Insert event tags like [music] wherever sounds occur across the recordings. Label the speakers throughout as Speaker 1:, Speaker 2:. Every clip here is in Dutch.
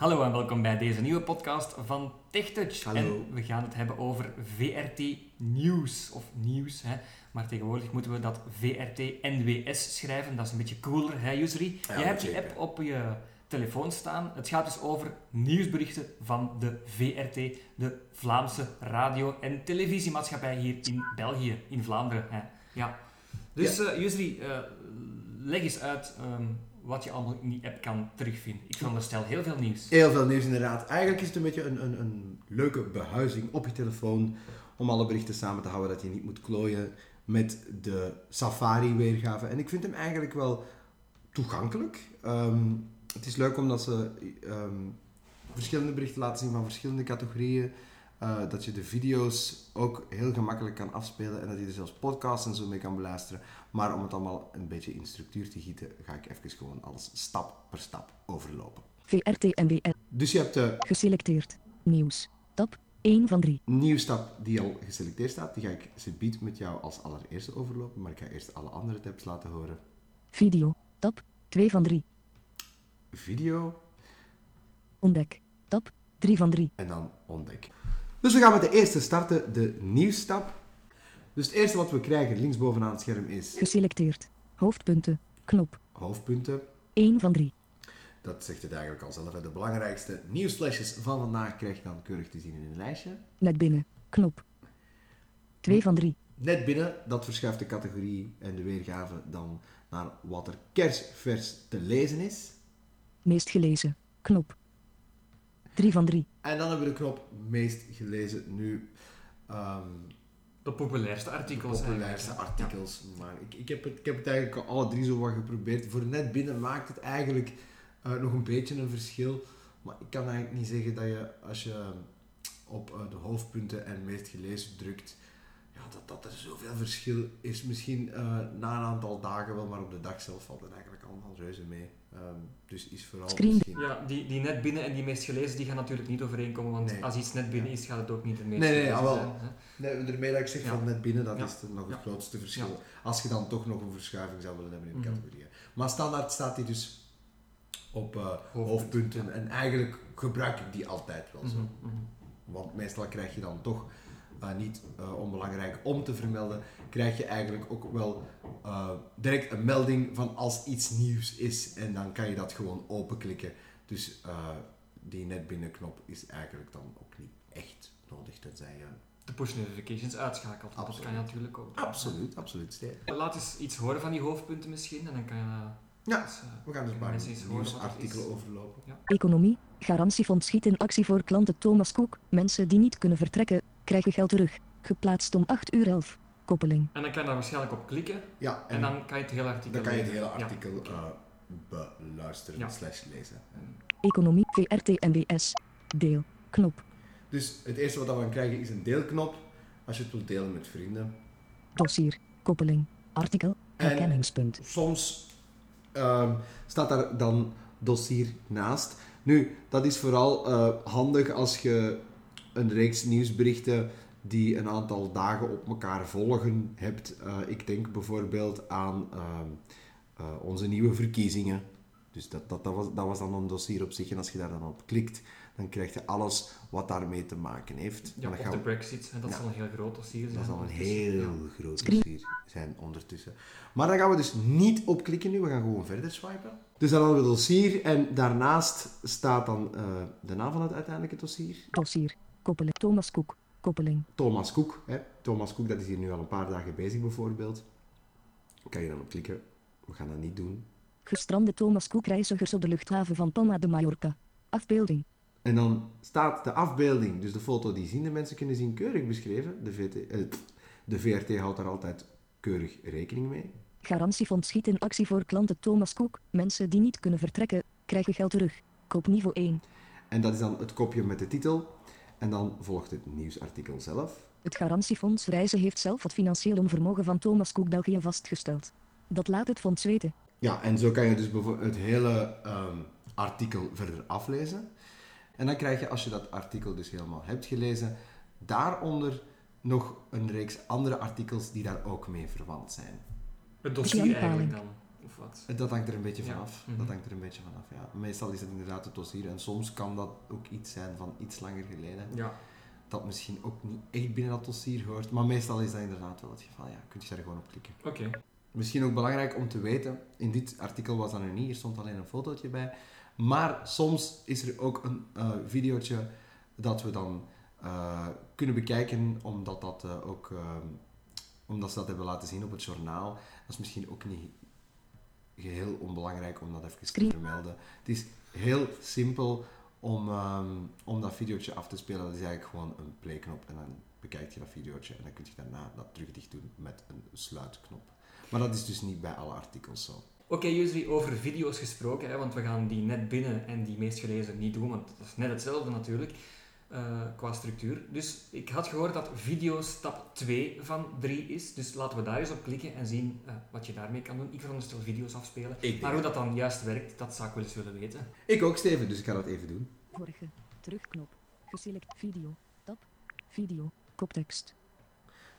Speaker 1: Hallo en welkom bij deze nieuwe podcast van TechTouch.
Speaker 2: Hallo.
Speaker 1: En we gaan het hebben over VRT Nieuws, of nieuws, hè. Maar tegenwoordig moeten we dat VRT NWS schrijven. Dat is een beetje cooler, hè, Yusri?
Speaker 2: Ja,
Speaker 1: Je hebt die
Speaker 2: zeker.
Speaker 1: app op je telefoon staan. Het gaat dus over nieuwsberichten van de VRT, de Vlaamse radio- en televisiemaatschappij hier in België, in Vlaanderen. Hè. Ja. Dus eh Yusri, eh, leg eens uit ehm, wat je allemaal in die app kan terugvinden. Ik veronderstel heel veel nieuws.
Speaker 2: Heel veel nieuws inderdaad. Eigenlijk is het een beetje een, een, een leuke behuizing op je telefoon om alle berichten samen te houden dat je niet moet klooien met de Safari-weergave. En ik vind hem eigenlijk wel toegankelijk. Ehm, het is leuk omdat ze ehm, verschillende berichten laten zien van verschillende categorieën. Eh, dat je de video's ook heel gemakkelijk kan afspelen en dat je er zelfs podcasts en zo mee kan beluisteren. Maar om het allemaal een beetje in structuur te gieten, ga ik even gewoon alles stap per stap overlopen.
Speaker 3: VRTNBL
Speaker 2: Dus je hebt de
Speaker 3: geselecteerd. Nieuws. Tab 1 van 3.
Speaker 2: nieuwstap die al geselecteerd staat. Die ga ik subiet met jou als allereerste overlopen. Maar ik ga eerst alle andere tabs laten horen.
Speaker 3: Video. Tab 2 van 3.
Speaker 2: Video
Speaker 3: Ontdek. Tab 3 van 3.
Speaker 2: en dan ontdek. Dus we gaan met de eerste starten, de nieuwstap. Dus het eerste wat we krijgen linksbovenaan het scherm is
Speaker 3: Geselecteerd. Hoofdpunten. Knop.
Speaker 2: hoofdpunten.
Speaker 3: 1 van 3.
Speaker 2: Dat zegt het eigenlijk al zelf. hè. De belangrijkste nieuwsflesjes van vandaag krijg je dan keurig te zien in een lijstje.
Speaker 3: Net binnen. Knop. 2 van 3.
Speaker 2: Net binnen, dat verschuift de categorie en de weergave dan naar wat er kersvers te lezen is.
Speaker 3: Meest gelezen. Knop. 3 van 3.
Speaker 2: En dan hebben we de knop meest gelezen nu. ehm
Speaker 1: De populairste artikels.
Speaker 2: populairste
Speaker 1: eigenlijk,
Speaker 2: artikels. Maar ik, ik, heb het, ik heb het eigenlijk alle drie zo wat geprobeerd. Voor net binnen maakt het eigenlijk eh, nog een beetje een verschil. Maar ik kan eigenlijk niet zeggen dat je als je op eh, de hoofdpunten en meest gelezen drukt, ja, dat, dat er zoveel verschil is. Misschien eh, na een aantal dagen wel, maar op de dag zelf valt het eigenlijk allemaal reuze mee. Ehm, dus is vooral
Speaker 3: Screen-
Speaker 2: misschien...
Speaker 1: Ja, Ja, die, die net binnen en die meest gelezen, die gaan natuurlijk niet overeenkomen, want
Speaker 2: Nee.
Speaker 1: als iets net binnen is, gaat het ook niet de meest
Speaker 2: Nee, nee,
Speaker 1: gelezen
Speaker 2: jawel.
Speaker 1: zijn, hè.
Speaker 2: Nee, daarmee dat ik zeg
Speaker 1: Ja.
Speaker 2: van net binnen, dat
Speaker 1: Ja.
Speaker 2: is het nog het
Speaker 1: Ja.
Speaker 2: grootste verschil. Als je dan toch nog een verschuiving zou willen hebben in de
Speaker 1: Mhm.
Speaker 2: categorieën. Maar standaard staat die dus op eh,
Speaker 1: Hoofdpunt,
Speaker 2: hoofdpunten. En eigenlijk gebruik ik die altijd wel zo.
Speaker 1: Mhm, mhm.
Speaker 2: Want meestal krijg je dan toch, eh, niet eh, onbelangrijk om te vermelden, krijg je eigenlijk ook wel eh, direct een melding van als iets nieuws is. En dan kan je dat gewoon openklikken. Dus eh, die net binnen knop is eigenlijk dan ook niet echt nodig, tenzij je...
Speaker 1: De push notifications uitschakelt, want dat
Speaker 2: Absoluut.
Speaker 1: kan je natuurlijk ook.
Speaker 2: Absoluut, absoluut, Stijn.
Speaker 1: Laat eens iets horen van die hoofdpunten misschien, en dan kan je... eh,
Speaker 2: Ja.
Speaker 1: eens, eh,
Speaker 2: We gaan dus een paar
Speaker 1: Mensen eens horen wat het
Speaker 2: nieuwsartikelen
Speaker 1: is.
Speaker 2: overlopen.
Speaker 3: Economie. Garantiefonds schiet in actie voor klanten Thomas Cook. Mensen die niet kunnen vertrekken, krijgen geld terug. Geplaatst om 8 uur 11. Koppeling.
Speaker 1: en dan kan je daar waarschijnlijk op klikken,
Speaker 2: Ja,
Speaker 1: en,
Speaker 2: en, dan,
Speaker 1: dan kan je het hele artikel
Speaker 2: kan je het
Speaker 1: lezen.
Speaker 2: hele
Speaker 1: Ja.
Speaker 2: artikel eh, beluisteren
Speaker 1: Ja.
Speaker 2: slash lezen.
Speaker 3: Economie. VRTNBS. Deel. Knop.
Speaker 2: Dus het eerste wat we dan krijgen is een deelknop. Als je het wilt delen met vrienden.
Speaker 3: Dossier. Koppeling. Artikel.
Speaker 2: En-
Speaker 3: Herkenningspunt.
Speaker 2: Soms ehm, staat daar dan dossier naast. Nu, dat is vooral eh, handig als je een reeks nieuwsberichten die een aantal dagen op elkaar volgen hebt. Eh, ik denk bijvoorbeeld aan ehm, eh, onze nieuwe verkiezingen. Dus dat, dat, dat, was, dat was dan een dossier op zich. En als je daar dan op klikt, dan krijg je alles wat daarmee te maken heeft.
Speaker 1: Ja,
Speaker 2: En dan
Speaker 1: of
Speaker 2: gaan
Speaker 1: de
Speaker 2: we-
Speaker 1: brexit, hè, dat is
Speaker 2: Ja.
Speaker 1: al een heel groot dossier.
Speaker 2: dat is
Speaker 1: zijn
Speaker 2: al een
Speaker 1: ondertussen.
Speaker 2: heel
Speaker 1: Ja.
Speaker 2: groot
Speaker 3: Screen.
Speaker 2: dossier zijn ondertussen. Maar daar gaan we dus niet op klikken nu, we gaan gewoon verder swipen. Dus dan hadden we het dossier en daarnaast staat dan eh, de naam van het uiteindelijke dossier.
Speaker 3: Dossier. Koppeling. Thomas Cook. Koppeling.
Speaker 2: Thomas Cook. Hè. Thomas Cook dat is hier nu al een paar dagen bezig bijvoorbeeld. Kan je dan op klikken? We gaan dat niet doen.
Speaker 3: Gestrande Thomas Cook reizigers op de luchthaven van Palma de Mallorca. Afbeelding.
Speaker 2: En dan staat de afbeelding, dus de foto die ziende mensen kunnen zien, keurig beschreven. De, VT, eh, de VRT houdt daar altijd keurig rekening mee.
Speaker 3: Garantiefonds schiet in actie voor klanten Thomas Cook. Mensen die niet kunnen vertrekken, krijgen geld terug. Koop niveau 1.
Speaker 2: En dat is dan het kopje met de titel. En dan volgt het nieuwsartikel zelf.
Speaker 3: Het garantiefonds Reizen heeft zelf het financieel onvermogen van Thomas Cook België vastgesteld. Dat laat het fonds weten.
Speaker 2: Ja, en zo kan je dus bijvo- het hele ehm, artikel verder aflezen. En dan krijg je, als je dat artikel dus helemaal hebt gelezen, daaronder nog een reeks andere artikels die daar ook mee verwant zijn.
Speaker 1: Het dossier eigenlijk dan. Of wat?
Speaker 2: Dat hangt er een beetje
Speaker 1: Ja.
Speaker 2: vanaf.
Speaker 1: Mhm.
Speaker 2: Dat hangt er een beetje vanaf, ja. Meestal is het inderdaad het dossier. En soms kan dat ook iets zijn van iets langer geleden.
Speaker 1: Ja.
Speaker 2: Dat misschien ook niet echt binnen dat dossier hoort. Maar meestal is dat inderdaad wel het geval. Ja, kun je daar gewoon op klikken.
Speaker 1: Oké.
Speaker 2: Misschien ook belangrijk om te weten, in dit artikel was dat nu niet, hier stond alleen een fotootje bij. Maar soms is er ook een eh videootje dat we dan eh, kunnen bekijken, omdat, dat, eh, ook, eh, omdat ze dat hebben laten zien op het journaal. Dat is misschien ook niet geheel onbelangrijk om dat even
Speaker 3: Screen.
Speaker 2: te vermelden. Het is heel simpel om, ehm, om dat videootje af te spelen. Dat is eigenlijk gewoon een playknop en dan bekijk je dat videootje en dan kun je daarna dat terug dicht doen met een sluitknop. Maar dat is dus niet bij alle artikels zo.
Speaker 1: Oké, Jusri, over video's gesproken, hè, want we gaan die net binnen en die meest gelezen niet doen, want dat is net hetzelfde natuurlijk, eh, qua structuur. Dus ik had gehoord dat video stap 2 van 3 is, dus laten we daar eens op klikken en zien eh, wat je daarmee kan doen. Ik veronderstel video's afspelen,
Speaker 2: Ik,
Speaker 1: maar hoe dat dan juist werkt, dat zou ik wel eens willen weten.
Speaker 2: ik ook, Steven, dus ik ga dat even doen.
Speaker 3: Vorige. Terugknop. Geselect video. Tab. Video. Koptekst.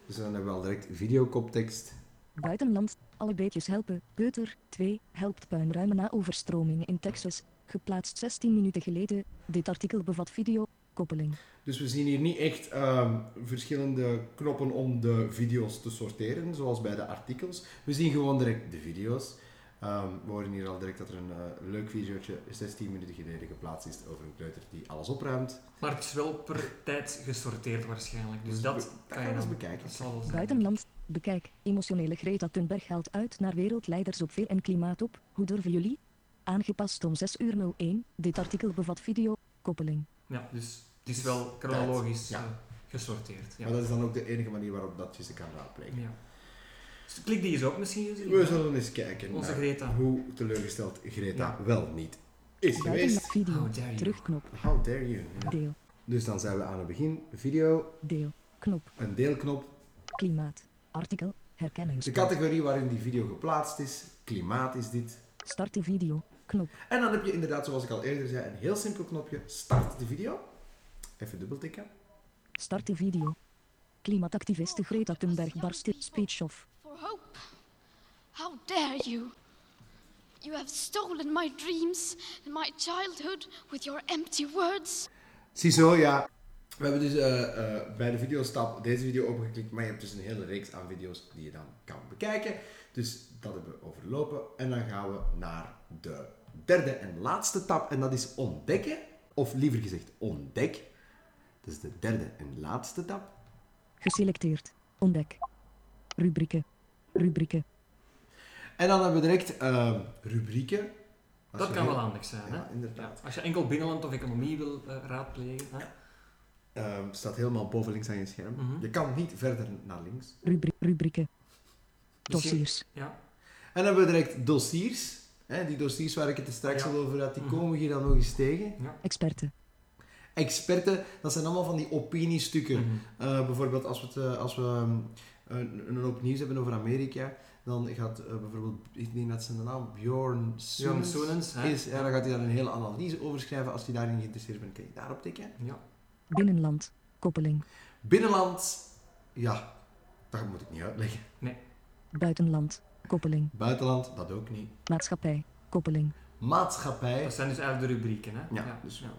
Speaker 2: Dus dan hebben we al direct videokoptekst.
Speaker 3: Buitenland. Alle beetjes helpen. Beuter. 2. Helpt puinruimen na overstromingen in Texas. Geplaatst 16 minuten geleden. Dit artikel bevat video. Koppeling.
Speaker 2: Dus we zien hier niet echt ehm, verschillende knoppen om de video's te sorteren, zoals bij de artikels. We zien gewoon direct de video's. Ehm, we horen hier al direct dat er een eh, leuk videootje 16 minuten geleden geplaatst is over een kleuter die alles opruimt.
Speaker 1: Maar het is wel per tijd gesorteerd waarschijnlijk, dus
Speaker 2: Be-
Speaker 1: dat
Speaker 2: dat
Speaker 1: kan je
Speaker 2: gaan we eens
Speaker 1: dan...
Speaker 2: bekijken.
Speaker 1: Dat zal wel zijn.
Speaker 3: Buitenland. Bekijk. Emotionele Greta Thunberg haalt uit naar wereldleiders op VN Klimaat op. Hoe durven jullie? Aangepast om 6 uur 01. Dit artikel bevat video. Koppeling.
Speaker 1: Ja, dus het is wel chronologisch
Speaker 2: Ja.
Speaker 1: eh, gesorteerd. Ja.
Speaker 2: Maar dat is dan ook de enige manier waarop dat je ze kan raadplegen.
Speaker 1: Ja. Dus klik die eens op misschien, Jusri.
Speaker 2: We zullen eens kijken
Speaker 1: Onze
Speaker 2: naar
Speaker 1: Greta.
Speaker 2: hoe teleurgesteld Greta
Speaker 1: Ja.
Speaker 2: wel niet is
Speaker 3: Buitenland.
Speaker 2: geweest.
Speaker 3: Video.
Speaker 1: How dare you.
Speaker 3: Terugknop.
Speaker 2: How dare you. Ja.
Speaker 3: Deel.
Speaker 2: Dus dan zijn we aan het begin. Video,
Speaker 3: Deel. Knop.
Speaker 2: een deelknop.
Speaker 3: Klimaat. Artikel.
Speaker 2: De
Speaker 3: Herkenning.
Speaker 2: categorie waarin die video geplaatst is. Klimaat is dit.
Speaker 3: Start de video. Knop.
Speaker 2: En dan heb je inderdaad, zoals ik al eerder zei, een heel simpel knopje. Start de video. Even dubbeltikken.
Speaker 3: Start de video. Klimaatactiviste Greta Thunberg barst in speech off.
Speaker 4: For hope. How dare you? You have stolen my dreams and my childhood with your empty words.
Speaker 2: Ziezo, ja. We hebben dus eh, eh, bij de videostap deze video opgeklikt, maar je hebt dus een hele reeks aan video's die je dan kan bekijken. Dus dat hebben we overlopen. En dan gaan we naar de derde en laatste tab en dat is ontdekken. Of liever gezegd ontdek. Dat is de derde en laatste tab.
Speaker 3: Geselecteerd. Ontdek. Rubrieken. Rubrieken.
Speaker 2: En dan hebben we direct eh, rubrieken. Als
Speaker 1: Dat
Speaker 2: je
Speaker 1: kan
Speaker 2: heel-
Speaker 1: wel handig zijn, hè?
Speaker 2: Ja, inderdaad.
Speaker 1: Als je enkel binnenland of economie wil eh, raadplegen, hè?
Speaker 2: Ehm, staat helemaal boven links aan je scherm.
Speaker 1: Mhm.
Speaker 2: Je kan niet verder naar links.
Speaker 3: Rubri rubrieken.
Speaker 1: Misschien-
Speaker 3: Dossiers.
Speaker 1: Ja.
Speaker 2: En dan hebben we direct dossiers. Hè, die dossiers waar ik het er straks
Speaker 1: Ja.
Speaker 2: al over had, die
Speaker 1: Mhm.
Speaker 2: komen hier dan nog eens tegen.
Speaker 3: Experten.
Speaker 2: Experten, dat zijn allemaal van die opiniestukken.
Speaker 1: Mhm.
Speaker 2: Eh, bijvoorbeeld als we, het, eh, als we ehm, een, een hoop nieuws hebben over Amerika, dan gaat eh, bijvoorbeeld, ik denk dat zijn naam Bjorn
Speaker 1: Bjorn
Speaker 2: Soenens
Speaker 1: Soenens, hè?
Speaker 2: is. Ja, dan gaat hij daar een hele analyse over schrijven. Als je daarin geïnteresseerd bent, kan je daarop tikken.
Speaker 1: Ja.
Speaker 3: Binnenland. Koppeling.
Speaker 2: Binnenland, ja, dat moet ik niet uitleggen.
Speaker 3: Buitenland. Koppeling.
Speaker 2: Buitenland, dat ook niet.
Speaker 3: Maatschappij. Koppeling.
Speaker 2: Maatschappij,
Speaker 1: Dat zijn dus eigenlijk de rubrieken, hè?
Speaker 2: Ja, dus-
Speaker 1: ja.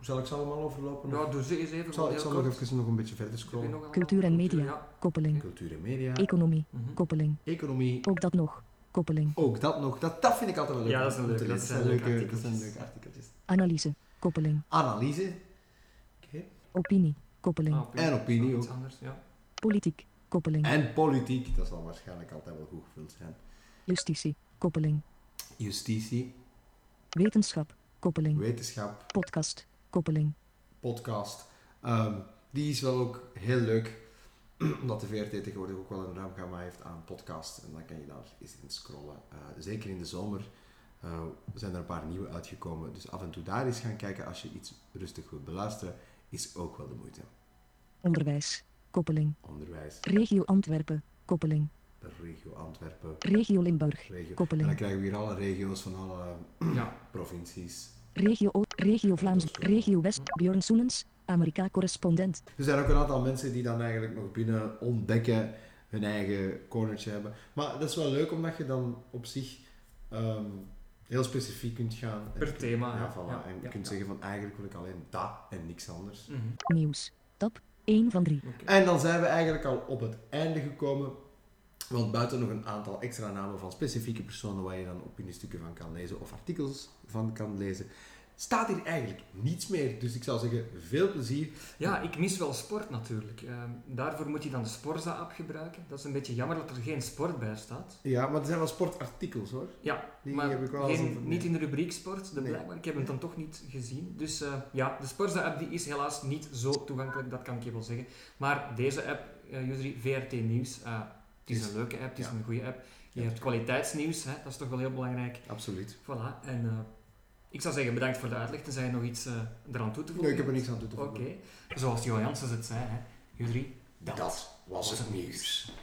Speaker 2: zal ik ze allemaal overlopen?
Speaker 1: Ja, doe ze eens even.
Speaker 2: Ik zal, ik
Speaker 1: heel
Speaker 2: zal
Speaker 1: kort.
Speaker 2: nog even nog een beetje verder
Speaker 1: Heb je
Speaker 2: scrollen.
Speaker 1: nog een-
Speaker 3: Cultuur en media.
Speaker 1: Ja.
Speaker 3: Koppeling.
Speaker 2: Cultuur en media,
Speaker 3: Economie.
Speaker 1: Mhm.
Speaker 3: Koppeling.
Speaker 2: economie,
Speaker 3: Ook dat nog. Koppeling.
Speaker 2: ook dat nog. Dat, dat vind ik altijd wel leuk.
Speaker 1: Ja, dat
Speaker 2: om
Speaker 1: is een
Speaker 2: te
Speaker 1: leuke,
Speaker 2: lezen.
Speaker 1: dat zijn leuke
Speaker 2: dat zijn
Speaker 1: artikeltjes.
Speaker 2: leuke artikeltjes.
Speaker 3: Analyse. Koppeling.
Speaker 2: Analyse Oké.
Speaker 3: Opinie. Koppeling.
Speaker 1: Ah,
Speaker 2: en opinie
Speaker 1: Iets
Speaker 2: ook.
Speaker 1: anders, ja.
Speaker 3: Politiek. Koppeling.
Speaker 2: En politiek, dat zal waarschijnlijk altijd wel goed gevuld zijn.
Speaker 3: Justitie. Koppeling.
Speaker 2: Justitie,
Speaker 3: Wetenschap. Koppeling.
Speaker 2: wetenschap,
Speaker 3: Podcast. Koppeling.
Speaker 2: podcast. Ehm, die is wel ook heel leuk, [clears throat] omdat de VRT tegenwoordig ook wel een ruim gamma heeft aan podcasts. En dan kan je daar eens in scrollen. Eh, zeker in de zomer eh, zijn er een paar nieuwe uitgekomen. Dus af en toe daar eens gaan kijken als je iets rustig wilt beluisteren, is ook wel de moeite.
Speaker 3: Onderwijs. Koppeling.
Speaker 2: Onderwijs,
Speaker 3: Regio Antwerpen. Koppeling.
Speaker 2: regio Antwerpen,
Speaker 3: Regio Limburg.
Speaker 2: regio... En dan
Speaker 3: Koppeling.
Speaker 2: krijgen we hier alle regio's van alle
Speaker 1: Ja.
Speaker 2: provincies.
Speaker 3: Regio Oost. Regio Vlaams. Regio West. Björn Soenens. Amerika correspondent.
Speaker 2: Dus Er zijn ook een aantal mensen die dan eigenlijk nog binnen ontdekken hun eigen cornertje hebben. Maar dat is wel leuk, omdat je dan op zich ehm, heel specifiek kunt gaan. En
Speaker 1: Per
Speaker 2: kunt-
Speaker 1: thema,
Speaker 2: Ja,
Speaker 1: ja.
Speaker 2: voilà.
Speaker 1: Ja,
Speaker 2: en je
Speaker 1: ja,
Speaker 2: kunt
Speaker 1: ja.
Speaker 2: zeggen van eigenlijk wil ik alleen dat en niks anders.
Speaker 1: Mhm.
Speaker 3: Nieuws. Tab 1 van 3.
Speaker 1: Oké.
Speaker 2: En dan zijn we eigenlijk al op het einde gekomen. Want buiten nog een aantal extra namen van specifieke personen waar je dan opiniestukken van kan lezen of artikels van kan lezen, staat hier eigenlijk niets meer. Dus ik zou zeggen, veel plezier.
Speaker 1: Ja, ik mis wel sport natuurlijk. Ehm, daarvoor moet je dan de Sporza-app gebruiken. Dat is een beetje jammer dat er geen sport bij staat.
Speaker 2: Ja, maar er zijn wel sportartikels hoor.
Speaker 1: Ja,
Speaker 2: Die
Speaker 1: maar
Speaker 2: heb ik wel
Speaker 1: geen-
Speaker 2: eens over-
Speaker 1: niet in de rubriek sport, de
Speaker 2: Nee.
Speaker 1: blijkbaar. Ik heb hem
Speaker 2: Ja.
Speaker 1: dan toch niet gezien. Dus eh, ja, de Sporza-app die is helaas niet zo toegankelijk, dat kan ik je wel zeggen. Maar deze app, eh Usery, VRT Nieuws, eh, het is
Speaker 2: Is-
Speaker 1: een leuke app, het is
Speaker 2: ja.
Speaker 1: een goede app. Je
Speaker 2: Ja.
Speaker 1: hebt kwaliteitsnieuws, hè, dat is toch wel heel belangrijk.
Speaker 2: Absoluut.
Speaker 1: Voilà, en eh, ik zou zeggen bedankt voor de uitleg. Tenzij je nog iets eh, eraan toe te voegen
Speaker 2: Nee, ik heb er
Speaker 1: hebt.
Speaker 2: niks aan toe te
Speaker 1: Oké,
Speaker 2: voegen.
Speaker 1: zoals Johan Janssens het zei, hè. Jullie,
Speaker 2: Dat was het nieuws.